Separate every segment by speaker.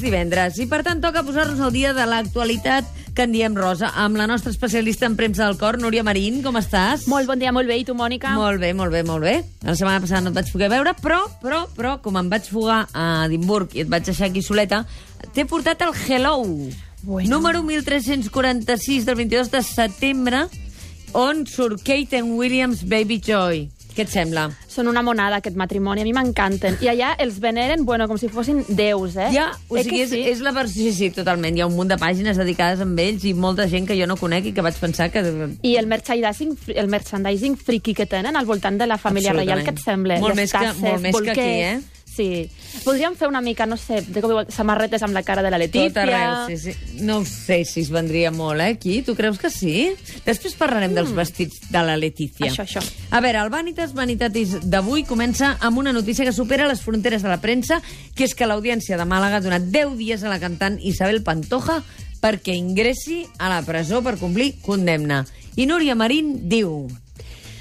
Speaker 1: divendres i, per tant, toca posar-nos al dia de l'actualitat que en diem Rosa, amb la nostra especialista en premsa del cor, Núria Marín. Com estàs?
Speaker 2: Molt bon dia, molt bé. I tu, Mònica?
Speaker 1: Molt bé, molt bé, molt bé. La setmana passada no et vaig poder veure, però, però, però, com em vaig fugar a Edimburg i et vaig deixar aquí soleta, t'he portat el Hello,
Speaker 2: Bueno.
Speaker 1: número 1346 del 22 de setembre, on surt Kate and Williams Baby Joy. Què et sembla?
Speaker 2: Són una monada, aquest matrimoni. A mi m'encanten. I allà els veneren, bueno, com si fossin déus, eh?
Speaker 1: Ja, o
Speaker 2: Eh
Speaker 1: sigui,
Speaker 2: que
Speaker 1: és, sí? és la versió... Sí, sí, totalment. Hi ha un munt de pàgines dedicades amb ells i molta gent que jo no conec i que vaig pensar que...
Speaker 2: I el merchandising, el merchandising friki que tenen al voltant de la família reial,
Speaker 1: Absolutament.
Speaker 2: que et sembla?
Speaker 1: Molt
Speaker 2: Les
Speaker 1: més que-
Speaker 2: tasses,
Speaker 1: molt més que aquí,
Speaker 2: bolquers.
Speaker 1: eh?
Speaker 2: Sí. Podríem fer una mica, no sé, de com diuen, samarretes amb la cara de la Letícia.
Speaker 1: Tot arreu, sí, sí. No ho sé si es vendria molt, eh, aquí. Tu creus que sí? Després parlarem mm. dels vestits de la Letícia.
Speaker 2: Això, això.
Speaker 1: A veure, el Vanitas Vanitatis d'avui comença amb una notícia que supera les fronteres de la premsa, que és que l'Audiència de Màlaga ha donat 10 dies a la cantant Isabel Pantoja perquè ingressi a la presó per complir condemna. I Núria Marín diu...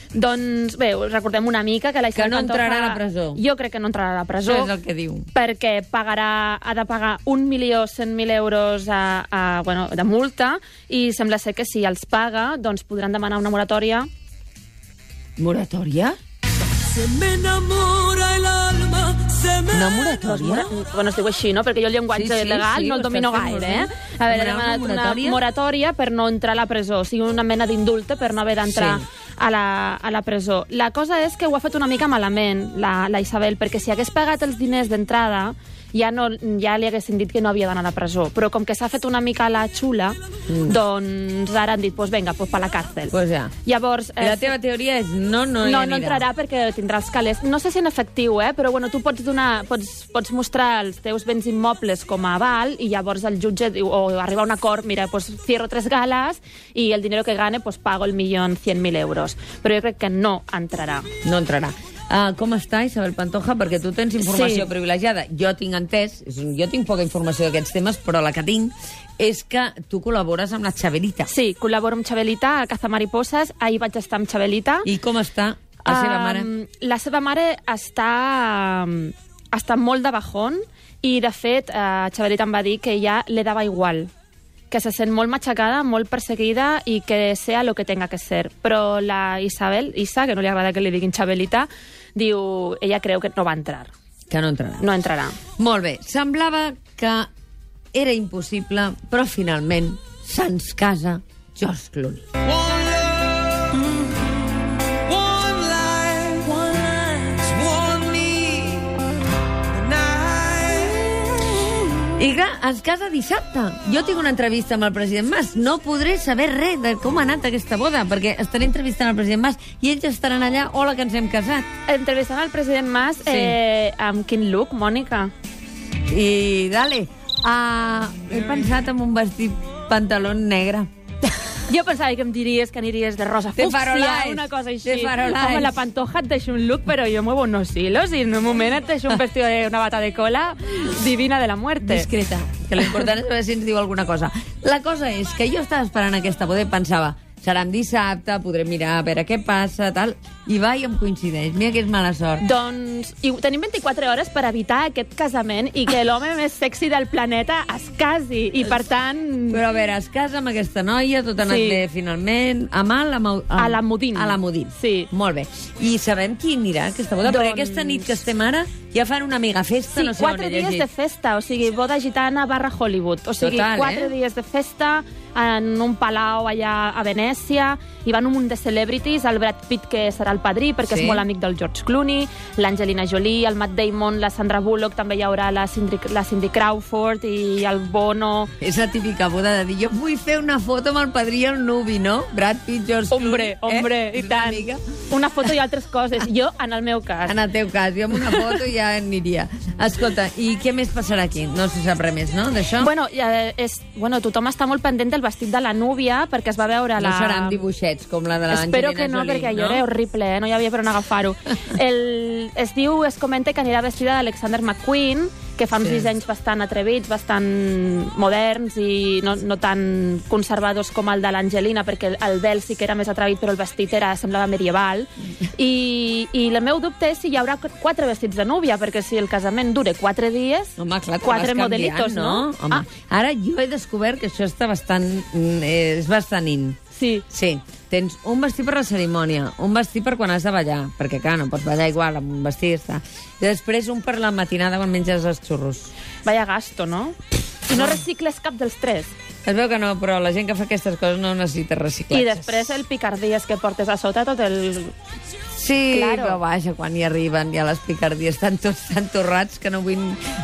Speaker 2: Doncs, bé, us recordem una mica que la
Speaker 1: Que
Speaker 2: Isabel
Speaker 1: no
Speaker 2: Pantoja-
Speaker 1: entrarà a la presó.
Speaker 2: Jo crec que no entrarà a la presó.
Speaker 1: Això és el que diu.
Speaker 2: perquè pagarà, ha de pagar 1.100.000 euros a, a, bueno, de multa i sembla ser que si els paga doncs podran demanar una moratòria
Speaker 1: Moratòria?
Speaker 3: Se me enamora el alma, se me...
Speaker 1: Una
Speaker 2: Doncs,
Speaker 1: moratòria?
Speaker 2: mora- bueno, es diu així, no? Perquè jo el llenguatge
Speaker 1: Sí,
Speaker 2: sí,
Speaker 1: sí,
Speaker 2: sí, legal
Speaker 1: sí,
Speaker 2: no
Speaker 1: ho
Speaker 2: el domino
Speaker 1: estàs fent
Speaker 2: gaire,
Speaker 1: molt
Speaker 2: eh?
Speaker 1: bé.
Speaker 2: A
Speaker 1: Demanar
Speaker 2: veure, demanar
Speaker 1: una
Speaker 2: una
Speaker 1: moratòria?
Speaker 2: moratòria per no entrar a la presó, o sigui, una mena d'indulta per no haver d'entrar
Speaker 1: Sí.
Speaker 2: sí. a, la, a la presó. La cosa és que ho ha fet una mica malament, la, la Isabel, perquè si hagués pagat els diners d'entrada ja, no, ja li haguessin dit que no havia d'anar a la presó. Però com que s'ha fet una mica la xula, mm. doncs ara han dit, pues vinga, pues per la càrcel.
Speaker 1: Pues ja.
Speaker 2: Llavors, eh,
Speaker 1: I la teva teoria és no, no hi
Speaker 2: no,
Speaker 1: anirà.
Speaker 2: no entrarà perquè tindrà els calés. No sé si en efectiu, eh? però bueno, tu pots, donar, pots, pots mostrar els teus béns immobles com a aval i llavors el jutge diu, o arriba a un acord, mira, pues cierro tres galas i el dinero que gane pues pago el millón cien mil euros. Però jo crec que no entrarà.
Speaker 1: No entrarà. Uh, com està Isabel Pantoja? Perquè tu tens informació
Speaker 2: Sí.
Speaker 1: privilegiada. Jo tinc entès, és un- jo tinc poca informació d'aquests temes, però la que tinc és que tu col·labores amb la Xaverita.
Speaker 2: Sí, col·laboro amb Xabelita a Caza Mariposas. Ahir vaig estar amb Xabelita.
Speaker 1: I com està la seva
Speaker 2: Um,
Speaker 1: mare?
Speaker 2: La seva mare està, um, està molt de bajón i, de fet, eh, Xaverita em va dir que ja le dava igual que se sent molt matxacada, molt perseguida i que sea lo que tenga que ser. Però la Isabel, Isa, que no li agrada que li diguin Xabelita, diu, ella creu que no va entrar,
Speaker 1: Que no entrarà.
Speaker 2: no entrarà.
Speaker 1: Molt bé, semblava que era impossible, però finalment se'ns casa George Clooney.
Speaker 3: One love, one life, Mm-hmm. one life, one need, and I...
Speaker 1: I clar, es casa dissabte. Jo tinc una entrevista amb el president Mas. No podré saber res de com ha anat aquesta boda, perquè estaré entrevistant el president Mas i ells estaran allà, hola, que ens hem casat.
Speaker 2: Entrevistant el president Mas,
Speaker 1: Sí.
Speaker 2: sí. eh, amb quin look, Mònica?
Speaker 1: I dale, uh, he pensat en un vestit pantaló negre.
Speaker 2: Jo pensava que em diries que aniries de rosa
Speaker 1: Te
Speaker 2: fúcsia,
Speaker 1: farolais,
Speaker 2: una cosa així.
Speaker 1: te farolais.
Speaker 2: Home, la pantoja et deixa un look, però jo muevo unos hilos i en un moment et deixo un vestido de una bata de cola divina de la muerte.
Speaker 1: Discreta, que l'important és saber si ens diu alguna cosa. La cosa és que jo estava esperant aquesta boda i pensava, serà en dissabte, podré mirar a veure què passa, tal, i va i em coincideix. Mira que és mala sort.
Speaker 2: Doncs i tenim 24 hores per evitar aquest casament i que l'home més sexy del planeta es casi. I per tant,
Speaker 1: Però a veure, es casa amb aquesta noia, tot ha anat sí.
Speaker 2: Sí.
Speaker 1: bé finalment. A mal, a, mal,
Speaker 2: A la Modín.
Speaker 1: A la Modín.
Speaker 2: Sí.
Speaker 1: Molt bé. I sabem qui anirà a aquesta boda? Doncs... Perquè
Speaker 2: Doncs-
Speaker 1: aquesta nit que estem ara ja fan una mega festa,
Speaker 2: sí,
Speaker 1: no sé
Speaker 2: quatre
Speaker 1: on he
Speaker 2: dies
Speaker 1: llegit.
Speaker 2: de festa, o sigui, boda gitana barra Hollywood. O sigui,
Speaker 1: Total, eh?
Speaker 2: quatre dies de festa en un palau allà a Venècia, hi van un munt de celebrities, el Brad Pitt, que serà el padrí, perquè
Speaker 1: Sí.
Speaker 2: és molt amic del George Clooney, l'Angelina Jolie, el Matt Damon, la Sandra Bullock, també hi haurà la Cindy, la Cindy Crawford i el Bono...
Speaker 1: És la típica boda de dir, jo vull fer una foto amb el padrí i el nuvi, no? Brad Pitt, George
Speaker 2: Hombre,
Speaker 1: Clooney,
Speaker 2: hombre,
Speaker 1: eh?
Speaker 2: i
Speaker 1: És una
Speaker 2: tant.
Speaker 1: mica.
Speaker 2: Una foto i altres coses. Jo, en el meu cas,
Speaker 1: En el teu cas, jo amb una foto ja aniria. Escolta, i què més passarà aquí? No se sap res més, no, d'això?
Speaker 2: Bueno, eh, és, bueno, tothom està molt pendent del vestit de la núvia perquè es va veure la...
Speaker 1: No serà amb dibuixets, com la de l'Angelina
Speaker 2: Espero que no,
Speaker 1: Jolie,
Speaker 2: perquè allò era horrible, eh? no hi havia per on agafar-ho. El, es diu, es comenta que anirà vestida d'Alexander McQueen, que fa uns
Speaker 1: Sí.
Speaker 2: dissenys bastant atrevits, bastant moderns i no, no tan conservadors com el de l'Angelina, perquè el, el vel sí que era més atrevit, però el vestit era, semblava medieval. I, I el meu dubte és si hi haurà qu- quatre vestits de núvia, perquè si el casament dure quatre dies,
Speaker 1: Home, clar, tu vas
Speaker 2: quatre
Speaker 1: canviant,
Speaker 2: modelitos, no?
Speaker 1: Home,
Speaker 2: Ah,
Speaker 1: ah. Ara jo he descobert que això està bastant... mm, eh, és bastant in.
Speaker 2: sí.
Speaker 1: Sí, tens un vestit per la cerimònia, un vestit per quan has de ballar, perquè clar, no pots ballar igual amb un vestit, està. I després un per la matinada quan menges els xurros.
Speaker 2: Vaya gasto, no? I no recicles cap dels tres.
Speaker 1: Es veu que no, però la gent que fa aquestes coses no necessita reciclatges.
Speaker 2: I després el picardies que portes a sota tot el...
Speaker 1: Sí,
Speaker 2: Claro.
Speaker 1: però vaja, quan hi arriben ja les picardies estan tots tan torrats que no vull...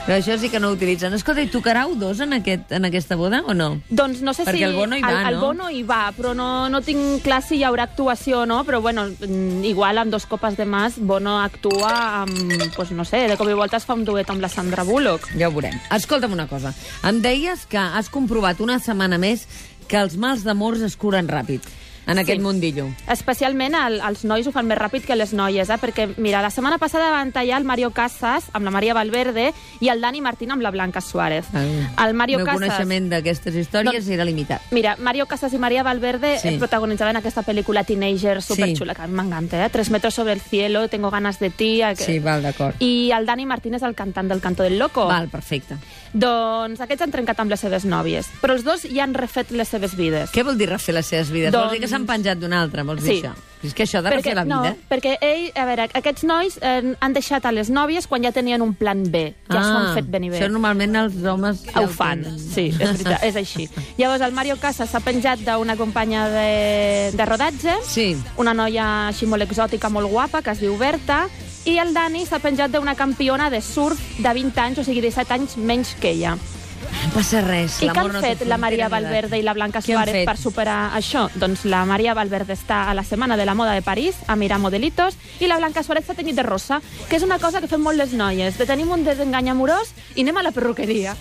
Speaker 1: Però això sí que no ho utilitzen. Escolta, i tocarà u dos en, aquest, en aquesta boda o no?
Speaker 2: Doncs no sé
Speaker 1: Perquè
Speaker 2: si...
Speaker 1: el Bono hi va,
Speaker 2: el, el
Speaker 1: no?
Speaker 2: Bono hi va, però no, no tinc clar si hi haurà actuació o no, però bueno, mm, igual amb dos copes de mas Bono actua amb, pues, no sé, de cop i volta es fa un duet amb la Sandra Bullock.
Speaker 1: Ja ho veurem. Escolta'm una cosa. Em deies que has comprovat una setmana més que els mals d'amors es curen ràpid en aquest mundillo.
Speaker 2: Especialment el, els nois ho fan més ràpid que les noies, eh? perquè mira, la setmana passada van tallar el Mario Casas amb la Maria Valverde i el Dani Martín amb la Blanca Suárez. Ah. el Mario
Speaker 1: El Ah. meu
Speaker 2: Casas...
Speaker 1: coneixement d'aquestes històries
Speaker 2: Doncs-
Speaker 1: era limitat.
Speaker 2: Mira, Mario Casas i María Valverde
Speaker 1: Sí.
Speaker 2: eh, protagonitzaven aquesta pel·lícula teenager superxula, que a mi m'encanta, eh? Tres metros sobre el cielo, tengo ganas de ti... eh, Que...
Speaker 1: Sí, val, d'acord.
Speaker 2: I el Dani Martínez, el cantant del Canto del Loco.
Speaker 1: Val, perfecte.
Speaker 2: Doncs aquests han trencat amb les seves nòvies, però els dos ja han refet les seves vides.
Speaker 1: Què vol dir refer les seves vides? Doncs...
Speaker 2: Doncs-
Speaker 1: Vols dir que s'han penjat d'una altra, vols dir
Speaker 2: Sí.
Speaker 1: això? És que això de refer la
Speaker 2: no,
Speaker 1: vida...
Speaker 2: perquè ell, a veure, aquests nois eh, han deixat a les nòvies quan ja tenien un plan B. Ja s'ho han fet ben i bé.
Speaker 1: Ah, Això normalment els homes... ja
Speaker 2: ho fan,
Speaker 1: tenen.
Speaker 2: sí, és veritat, és així. Llavors, el Mario Casas s'ha penjat d'una companya de, de rodatge,
Speaker 1: Sí.
Speaker 2: una noia així molt exòtica, molt guapa, que es diu Berta, i el Dani s'ha penjat d'una campiona de surf de 20 anys, o sigui, 17 anys menys que ella.
Speaker 1: No passa res.
Speaker 2: I què
Speaker 1: l'amor
Speaker 2: han
Speaker 1: no té
Speaker 2: fet la
Speaker 1: frontera
Speaker 2: Maria
Speaker 1: ni edat.
Speaker 2: Valverde i la Blanca
Speaker 1: Què han
Speaker 2: Suárez
Speaker 1: fet?
Speaker 2: per superar això? Doncs la Maria Valverde està a la Setmana de la Moda de París a mirar modelitos i la Blanca Suárez s'ha tenyit de rosa, que és una cosa que fem molt les noies, de tenim un desengany amorós i anem a la perruqueria.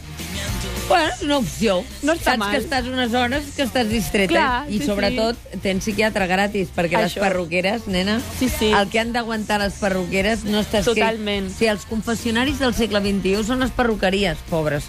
Speaker 1: Bueno, és una opció.
Speaker 2: No està
Speaker 1: Saps
Speaker 2: mal.
Speaker 1: que estàs unes hores que estàs distreta.
Speaker 2: Clar,
Speaker 1: I
Speaker 2: sí,
Speaker 1: sobretot tens psiquiatre gratis, perquè les
Speaker 2: Això.
Speaker 1: perruqueres, nena,
Speaker 2: Sí, sí.
Speaker 1: el que han d'aguantar les perruqueres no està escrit.
Speaker 2: Totalment.
Speaker 1: Sí, els confessionaris del segle XXI són les perruqueries, pobres.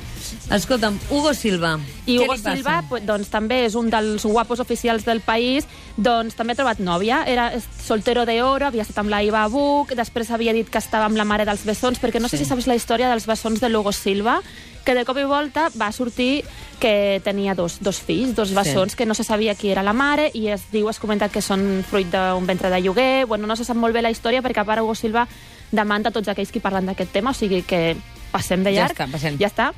Speaker 1: Escolta'm, Hugo Silva,
Speaker 2: I
Speaker 1: què
Speaker 2: Hugo
Speaker 1: li passa?
Speaker 2: Silva, pues, doncs, també és un dels guapos oficials del país, doncs també ha trobat nòvia, era es- soltero de oro, havia estat amb la Iva Buc, després havia dit que estava amb la mare dels bessons, perquè no sí. sé si saps la història dels bessons de Lugo Silva, que de cop i volta va sortir que tenia dos, dos fills, dos bessons, que no se sabia qui era la mare, i es diu, es comenta que són fruit d'un ventre de lloguer, bueno, no se sap molt bé la història, perquè a part Hugo Silva demanda tots aquells que parlen d'aquest tema, o sigui que passem de
Speaker 1: Ja
Speaker 2: llarg.
Speaker 1: està, passem.
Speaker 2: Ja està.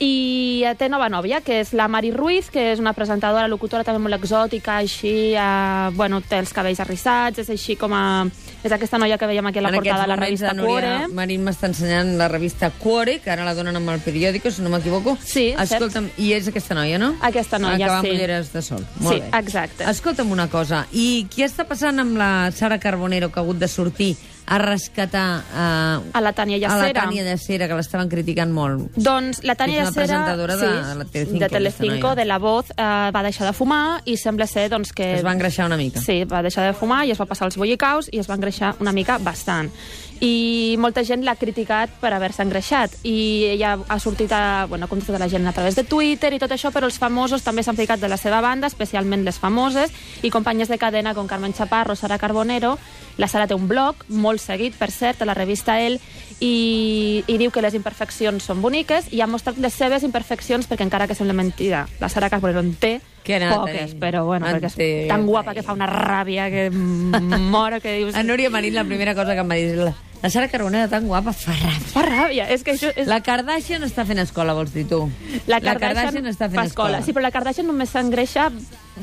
Speaker 2: I eh, té nova nòvia, que és la Mari Ruiz, que és una presentadora, locutora també molt exòtica, així, eh, bueno, té els cabells arrissats, és així com a... És aquesta noia que veiem aquí a la
Speaker 1: en aquests
Speaker 2: portada de la
Speaker 1: moments
Speaker 2: revista Cuore.
Speaker 1: Núria Marín m'està ensenyant la revista Cuore, que ara la donen amb el periòdico, si no m'equivoco.
Speaker 2: Sí, cert.
Speaker 1: Escolta'm, i és aquesta noia, no?
Speaker 2: Aquesta noia,
Speaker 1: Ah, que va amb
Speaker 2: sí.
Speaker 1: ulleres de sol. Molt
Speaker 2: Sí,
Speaker 1: bé.
Speaker 2: exacte.
Speaker 1: Escolta'm una cosa, i què està passant amb la Sara Carbonero, que ha hagut de sortir a rescatar... Eh,
Speaker 2: A la Tania
Speaker 1: A la
Speaker 2: Llacera.
Speaker 1: Tania Llacera, que l'estaven criticant molt.
Speaker 2: Doncs la Tania
Speaker 1: És una
Speaker 2: Llacera,
Speaker 1: presentadora de la Telecinco,
Speaker 2: de,
Speaker 1: aquesta noia.
Speaker 2: Telecinco, de La Voz, eh, va deixar de fumar i sembla ser doncs, que...
Speaker 1: Es va engreixar una mica.
Speaker 2: Sí, va deixar de fumar i es va passar els bollicaus i es va engreixar una mica bastant. I molta gent l'ha criticat per haver-se engreixat i ella ha sortit a, bueno, ha contestat a la gent a través de Twitter i tot això, però els famosos també s'han ficat de la seva banda, especialment les famoses i companyes de cadena com Carmen Chaparro, Sara Carbonero. La Sara té un blog, molt seguit, per cert, a la revista El, i, i diu que les imperfeccions són boniques i ha mostrat les seves imperfeccions perquè encara que sembla mentida, la Sara Carbonero en té
Speaker 1: Que no
Speaker 2: poques,
Speaker 1: tenim.
Speaker 2: però bueno,
Speaker 1: En
Speaker 2: perquè és
Speaker 1: té,
Speaker 2: tan
Speaker 1: en
Speaker 2: guapa
Speaker 1: tenim.
Speaker 2: que fa una ràbia que m- moro, que dius...
Speaker 1: A Núria Marín la primera cosa que em va dir és la, la Sara Carbonero tan guapa fa ràbia.
Speaker 2: Fa ràbia, és que això és...
Speaker 1: La Kardashian està fent escola, vols dir tu? està fent
Speaker 2: fa escola. Sí, però la Kardashian només s'engreixa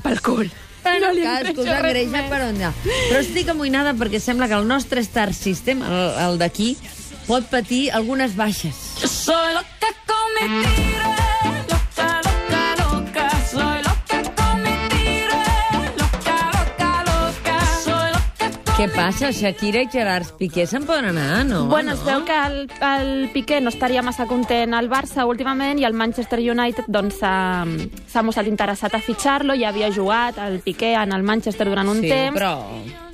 Speaker 2: pel cul.
Speaker 1: Però no,
Speaker 2: li
Speaker 1: cadascú
Speaker 2: engreixa res
Speaker 1: s'engreixa
Speaker 2: més.
Speaker 1: per on ja. Però estic amoïnada perquè sembla que el nostre Star System, el, el d'aquí, pot patir algunes baixes.
Speaker 3: Soy loca con mi tigre, loca, loca, loca. Soy loca con mi tigre, loca, loca, loca. Soy loca con
Speaker 1: Què passa? Shakira i Gerard Piqué se'n poden anar, no?
Speaker 2: Bueno,
Speaker 1: no?
Speaker 2: es veu que el, el Piqué no estaria massa content al Barça últimament i el Manchester United doncs, s'ha s'ha mostrat interessat a fitxar-lo, ja havia jugat el Piqué en el Manchester durant un
Speaker 1: sí,
Speaker 2: temps.
Speaker 1: però...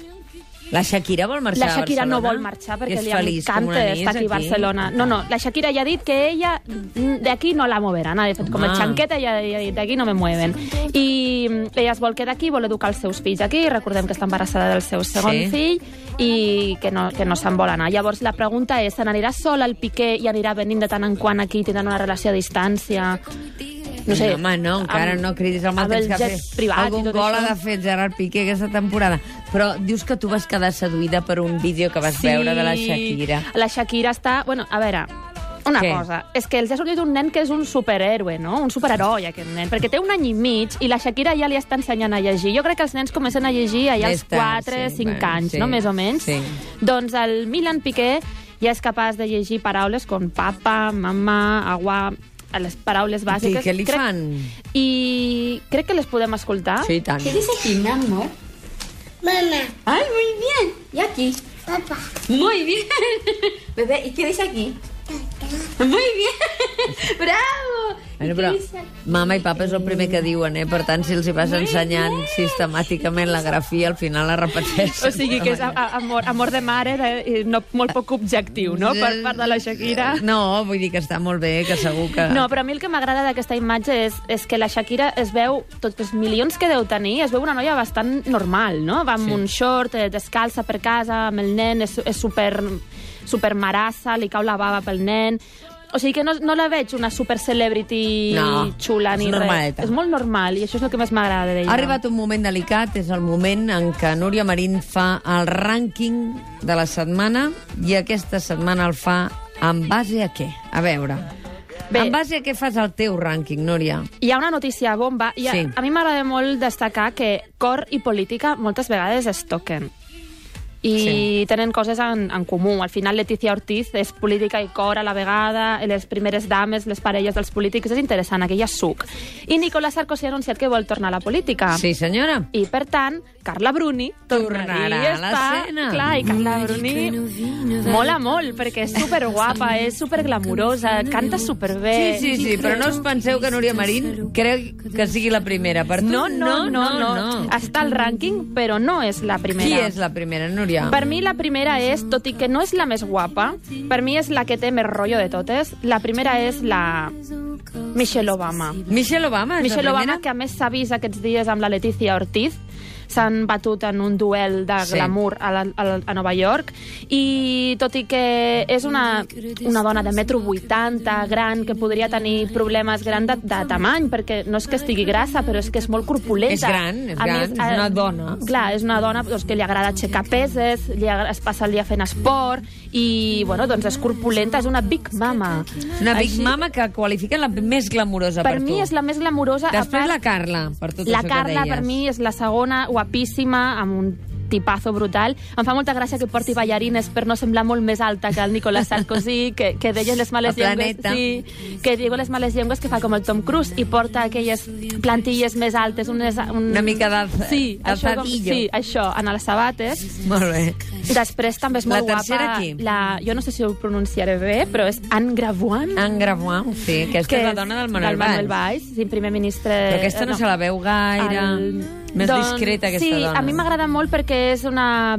Speaker 1: La Shakira vol marxar
Speaker 2: La Shakira
Speaker 1: a
Speaker 2: no
Speaker 1: Barcelona?
Speaker 2: vol marxar perquè
Speaker 1: És
Speaker 2: li
Speaker 1: feliç com
Speaker 2: encanta
Speaker 1: una
Speaker 2: estar
Speaker 1: anís
Speaker 2: aquí a Barcelona. No, no, la Shakira ja ha dit que ella mm, d'aquí no la moveran. Ha fet com el
Speaker 1: Home.
Speaker 2: xanqueta ja, ja ha dit d'aquí no me mueven. I mm, ella es vol quedar aquí, vol educar els seus fills aquí. Recordem que està embarassada del seu segon
Speaker 1: Sí.
Speaker 2: fill i que no, que no se'n vol anar. Llavors la pregunta és, se n'anirà sola al Piqué i anirà venint de tant en quant aquí, tindran una relació a distància? No sé.
Speaker 1: Home, no, encara no cridis al mal
Speaker 2: amb
Speaker 1: temps
Speaker 2: els
Speaker 1: que ha
Speaker 2: jets
Speaker 1: fet.
Speaker 2: privats i
Speaker 1: Algun
Speaker 2: tot
Speaker 1: gol
Speaker 2: això.
Speaker 1: ha de fer Gerard Piqué aquesta temporada. Però dius que tu vas quedar seduïda per un vídeo que vas veure de la Shakira.
Speaker 2: La Shakira està... Bueno, a veure, una
Speaker 1: Què?
Speaker 2: cosa. És que els ha sortit un nen que és un superhéroe, no? Un superheroi, aquest nen. Perquè té un any i mig i la Shakira ja li està ensenyant a llegir. Jo crec que els nens comencen a llegir allà
Speaker 1: Més
Speaker 2: als
Speaker 1: tard,
Speaker 2: 4,
Speaker 1: sí,
Speaker 2: 5
Speaker 1: bueno,
Speaker 2: anys,
Speaker 1: sí,
Speaker 2: no? Més o menys.
Speaker 1: sí.
Speaker 2: Doncs el Milan Piqué ja és capaç de llegir paraules com papa, mamà, agua... Les paraules bàsiques.
Speaker 1: què li
Speaker 2: Crec-
Speaker 1: fan?
Speaker 2: I crec que les podem escoltar.
Speaker 1: Sí, i tant.
Speaker 4: ¿Qué dice aquí, mi amor?
Speaker 5: Mamá,
Speaker 4: Ay, muy bien. ¿Y aquí?
Speaker 5: papá,
Speaker 4: Muy bien. Bebé, ¿y qué dice aquí? Muy bien. Bravo. ¿Y
Speaker 1: Bueno,
Speaker 4: qué
Speaker 1: però
Speaker 4: dice aquí?
Speaker 1: mama i papa és el primer que diuen, eh? Per tant, si els hi vas ensenyant sistemàticament la grafia, al final la repeteixen.
Speaker 2: O sigui que és a- a- amor, amor de mare, de, no, molt poc objectiu, no?, per part de la Shakira.
Speaker 1: No, vull dir que està molt bé, que segur que...
Speaker 2: No, però a mi el que m'agrada d'aquesta imatge és, és que la Shakira es veu, tots els milions que deu tenir, es veu una noia bastant normal, no? Va
Speaker 1: Sí.
Speaker 2: amb sí. un short, eh, descalça per casa, amb el nen, és, és super, super marassa, li cau la bava pel nen... O sigui que no, no la veig una super celebrity
Speaker 1: No,
Speaker 2: xula ni
Speaker 1: és normaleta.
Speaker 2: res. És molt normal i això és el que més m'agrada d'ella.
Speaker 1: Ha arribat un moment delicat, és el moment en què Núria Marín fa el rànquing de la setmana i aquesta setmana el fa en base a què? A veure. Bé.
Speaker 2: Bé.
Speaker 1: En base a què fas el teu rànquing, Núria?
Speaker 2: Hi ha una notícia bomba. I a,
Speaker 1: Sí.
Speaker 2: a mi m'agrada molt destacar que cor i política moltes vegades es toquen. I
Speaker 1: Sí.
Speaker 2: sí. tenen coses en, en comú. Al final, Letícia Ortiz és política i cor a la vegada, les primeres dames, les parelles dels polítics... És interessant, aquella suc. I Nicolás Sarkozy ha anunciat que vol tornar a la política.
Speaker 1: Sí, senyora.
Speaker 2: I, per tant, Carla Bruni
Speaker 1: Tornarà
Speaker 2: tornaria
Speaker 1: a l'escena.
Speaker 2: estar... Clar, i Carla Bruni mola molt, perquè és superguapa, és superglamurosa, canta superbé...
Speaker 1: Sí, sí, sí, però no us penseu que Núria Marín crec que sigui la primera. Per tu,
Speaker 2: No, no, no, no, no. Està al rànquing, però no és la primera.
Speaker 1: Qui és la primera, Núria?
Speaker 2: Per mi la primera és, tot i que no és la més guapa, per mi és la que té més rotllo de totes, la primera és la Michelle Obama.
Speaker 1: Michelle Obama és
Speaker 2: Michelle
Speaker 1: la
Speaker 2: Obama,
Speaker 1: primera?
Speaker 2: que a més s'ha vist aquests dies amb la Letícia Ortiz, s'han batut en un duel de
Speaker 1: Sí.
Speaker 2: glamour a, la, a, la- a Nova York i tot i que és una, una dona de metro 80, gran, que podria tenir problemes gran de, de tamany, perquè no és que estigui grassa, però és que és molt corpulenta.
Speaker 1: És gran, és
Speaker 2: A
Speaker 1: gran, és
Speaker 2: eh,
Speaker 1: una dona.
Speaker 2: Clar, és una dona doncs, que li agrada aixecar peses, li agra- es passa el dia fent esport i, bueno, doncs és corpulenta, és una big mama.
Speaker 1: Una Big
Speaker 2: Així-
Speaker 1: Mama que qualifiquen la més glamurosa per,
Speaker 2: per, mi
Speaker 1: tu.
Speaker 2: és la més glamurosa. a
Speaker 1: Després
Speaker 2: part-
Speaker 1: la Carla, per tot
Speaker 2: la
Speaker 1: això
Speaker 2: Carla,
Speaker 1: que deies.
Speaker 2: per mi, és la segona, guapíssima, amb un tipazo brutal. Em fa molta gràcia que porti ballarines per no semblar molt més alta que el Nicolas Sarkozy, que, que deien les males
Speaker 1: El
Speaker 2: llengües...
Speaker 1: planeta.
Speaker 2: Sí, que diuen les males llengües que fa com el Tom Cruise i porta aquelles plantilles més altes, unes... Un...
Speaker 1: Una mica d'alz-
Speaker 2: Sí, això, com,
Speaker 1: d'alzadillo.
Speaker 2: sí, això, en les sabates.
Speaker 1: Molt bé.
Speaker 2: Després també és
Speaker 1: La
Speaker 2: molt
Speaker 1: tercera
Speaker 2: guapa...
Speaker 1: qui?
Speaker 2: La Jo no sé si ho pronunciaré bé, però és Anne Gravois.
Speaker 1: En Gramois, sí, aquesta Ah, és la dona del Manuel,
Speaker 2: Manuel
Speaker 1: Valls.
Speaker 2: Valls. sí, primer ministre...
Speaker 1: Però aquesta no,
Speaker 2: eh,
Speaker 1: se la veu gaire.
Speaker 2: el-
Speaker 1: Més
Speaker 2: doncs,
Speaker 1: discreta, aquesta
Speaker 2: sí,
Speaker 1: dona.
Speaker 2: a mi m'agrada molt perquè és una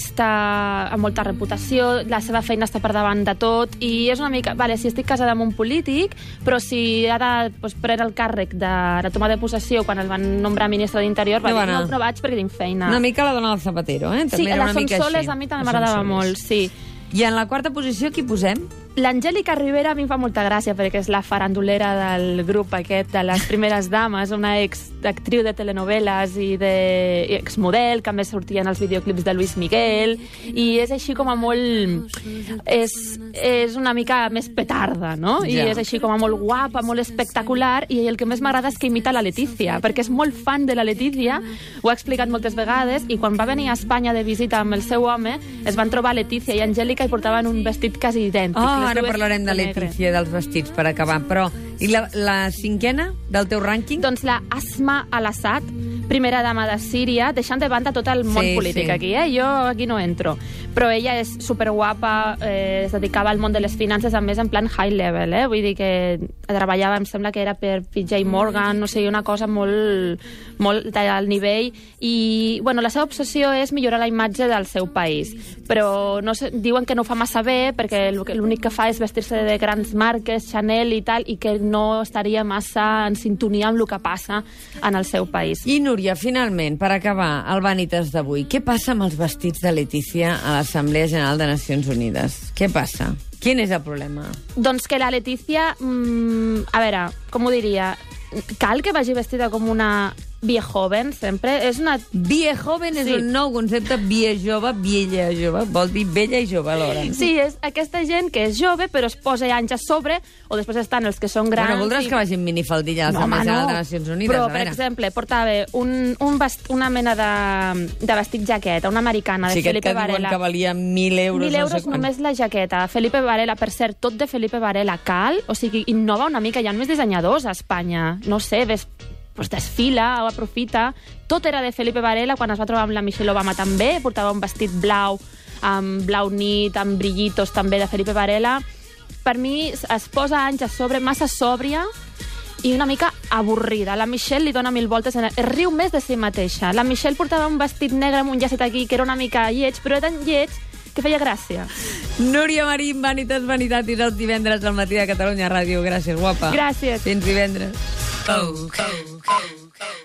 Speaker 2: violinista amb molta reputació, la seva feina està per davant de tot, i és una mica... Vale, si estic casada amb un polític, però si ha de doncs, prendre el càrrec de la toma de possessió quan el van nombrar ministre d'Interior, va
Speaker 1: No va
Speaker 2: dir, no,
Speaker 1: anar.
Speaker 2: no vaig perquè tinc feina.
Speaker 1: Una mica la dona del Zapatero, eh? També
Speaker 2: sí,
Speaker 1: era
Speaker 2: la
Speaker 1: una mica
Speaker 2: Sonsoles
Speaker 1: així.
Speaker 2: a mi
Speaker 1: La
Speaker 2: també m'agradava
Speaker 1: Sonsoles.
Speaker 2: molt, sí.
Speaker 1: I en la quarta posició qui posem?
Speaker 2: L'Angèlica Rivera a mi em fa molta gràcia perquè és la farandulera del grup aquest de les primeres dames, una ex-actriu de telenovel·les i de i exmodel, que a més sortia en els videoclips de Luis Miguel, i és així com a molt... És, és una mica més petarda, no? I
Speaker 1: Ja.
Speaker 2: és així com a molt guapa, molt espectacular, i el que més m'agrada és que imita la Letícia, perquè és molt fan de la Letícia, ho ha explicat moltes vegades, i quan va venir a Espanya de visita amb el seu home, es van trobar Letícia i Angèlica i portaven un vestit quasi idèntic.
Speaker 1: Oh,
Speaker 2: Les
Speaker 1: ara
Speaker 2: dues
Speaker 1: parlarem de
Speaker 2: negre.
Speaker 1: Letícia i dels vestits per acabar, però... I la, la cinquena del teu rànquing?
Speaker 2: Doncs la Asma al-Assad, primera dama de Síria, deixant de banda tot el món
Speaker 1: Sí,
Speaker 2: polític
Speaker 1: sí.
Speaker 2: aquí, eh? Jo aquí no entro. Però ella és superguapa, eh, es dedicava al món de les finances, a més, en plan high level, eh? Vull dir que treballava, em sembla que era per PJ Morgan, no sé, una cosa molt, molt d'alt nivell. I, bueno, la seva obsessió és millorar la imatge del seu país. Però no sé, diuen que no ho fa massa bé, perquè el que- l'únic que fa és vestir-se de grans marques, Chanel i tal, i que no estaria massa en sintonia amb el que passa en el seu país.
Speaker 1: I Núria, finalment, per acabar, el Vanitas d'avui, què passa amb els vestits de Letícia a l'Assemblea General de Nacions Unides? Què passa? Quin és el problema?
Speaker 2: Doncs que la Letícia, mm, a veure, com ho diria, cal que vagi vestida com una viejoven, sempre? És una...
Speaker 1: Vie joven és
Speaker 2: Sí.
Speaker 1: un nou concepte, vie jove, viella jove, vol dir vella i jove alhora.
Speaker 2: Sí, és aquesta gent que és jove però es posa anys a sobre o després estan els que són grans...
Speaker 1: Bueno, voldràs
Speaker 2: i-
Speaker 1: que vagin minifaldilla a l'Assemblea General de Nacions Unides?
Speaker 2: Però,
Speaker 1: a
Speaker 2: per
Speaker 1: veure.
Speaker 2: exemple, portava un, un vest, una mena de, de vestit jaqueta, una americana, de
Speaker 1: si aquest
Speaker 2: Felipe
Speaker 1: que diuen
Speaker 2: Varela.
Speaker 1: que valia 1.000 euros,
Speaker 2: 1.000 euros
Speaker 1: no sé quant.
Speaker 2: només la jaqueta. Felipe Varela, per cert, tot de Felipe Varela cal, o sigui, innova una mica, hi ha més dissenyadors a Espanya. No sé, ves, pues desfila o aprofita. Tot era de Felipe Varela, quan es va trobar amb la Michelle Obama també, portava un vestit blau, amb blau nit, amb brillitos també de Felipe Varela. Per mi es- es posa anys a sobre, massa sòbria, i una mica avorrida. La Michelle li dona mil voltes, en... es riu més de si mateixa. La Michelle portava un vestit negre amb un llacet aquí, que era una mica lleig, però era tan lleig que feia gràcia.
Speaker 1: Núria Marín, Vanitas Vanitatis, els divendres al matí de Catalunya Ràdio. Gràcies, guapa.
Speaker 2: Gràcies.
Speaker 1: Fins divendres.
Speaker 3: Coke, coke, coke, coke.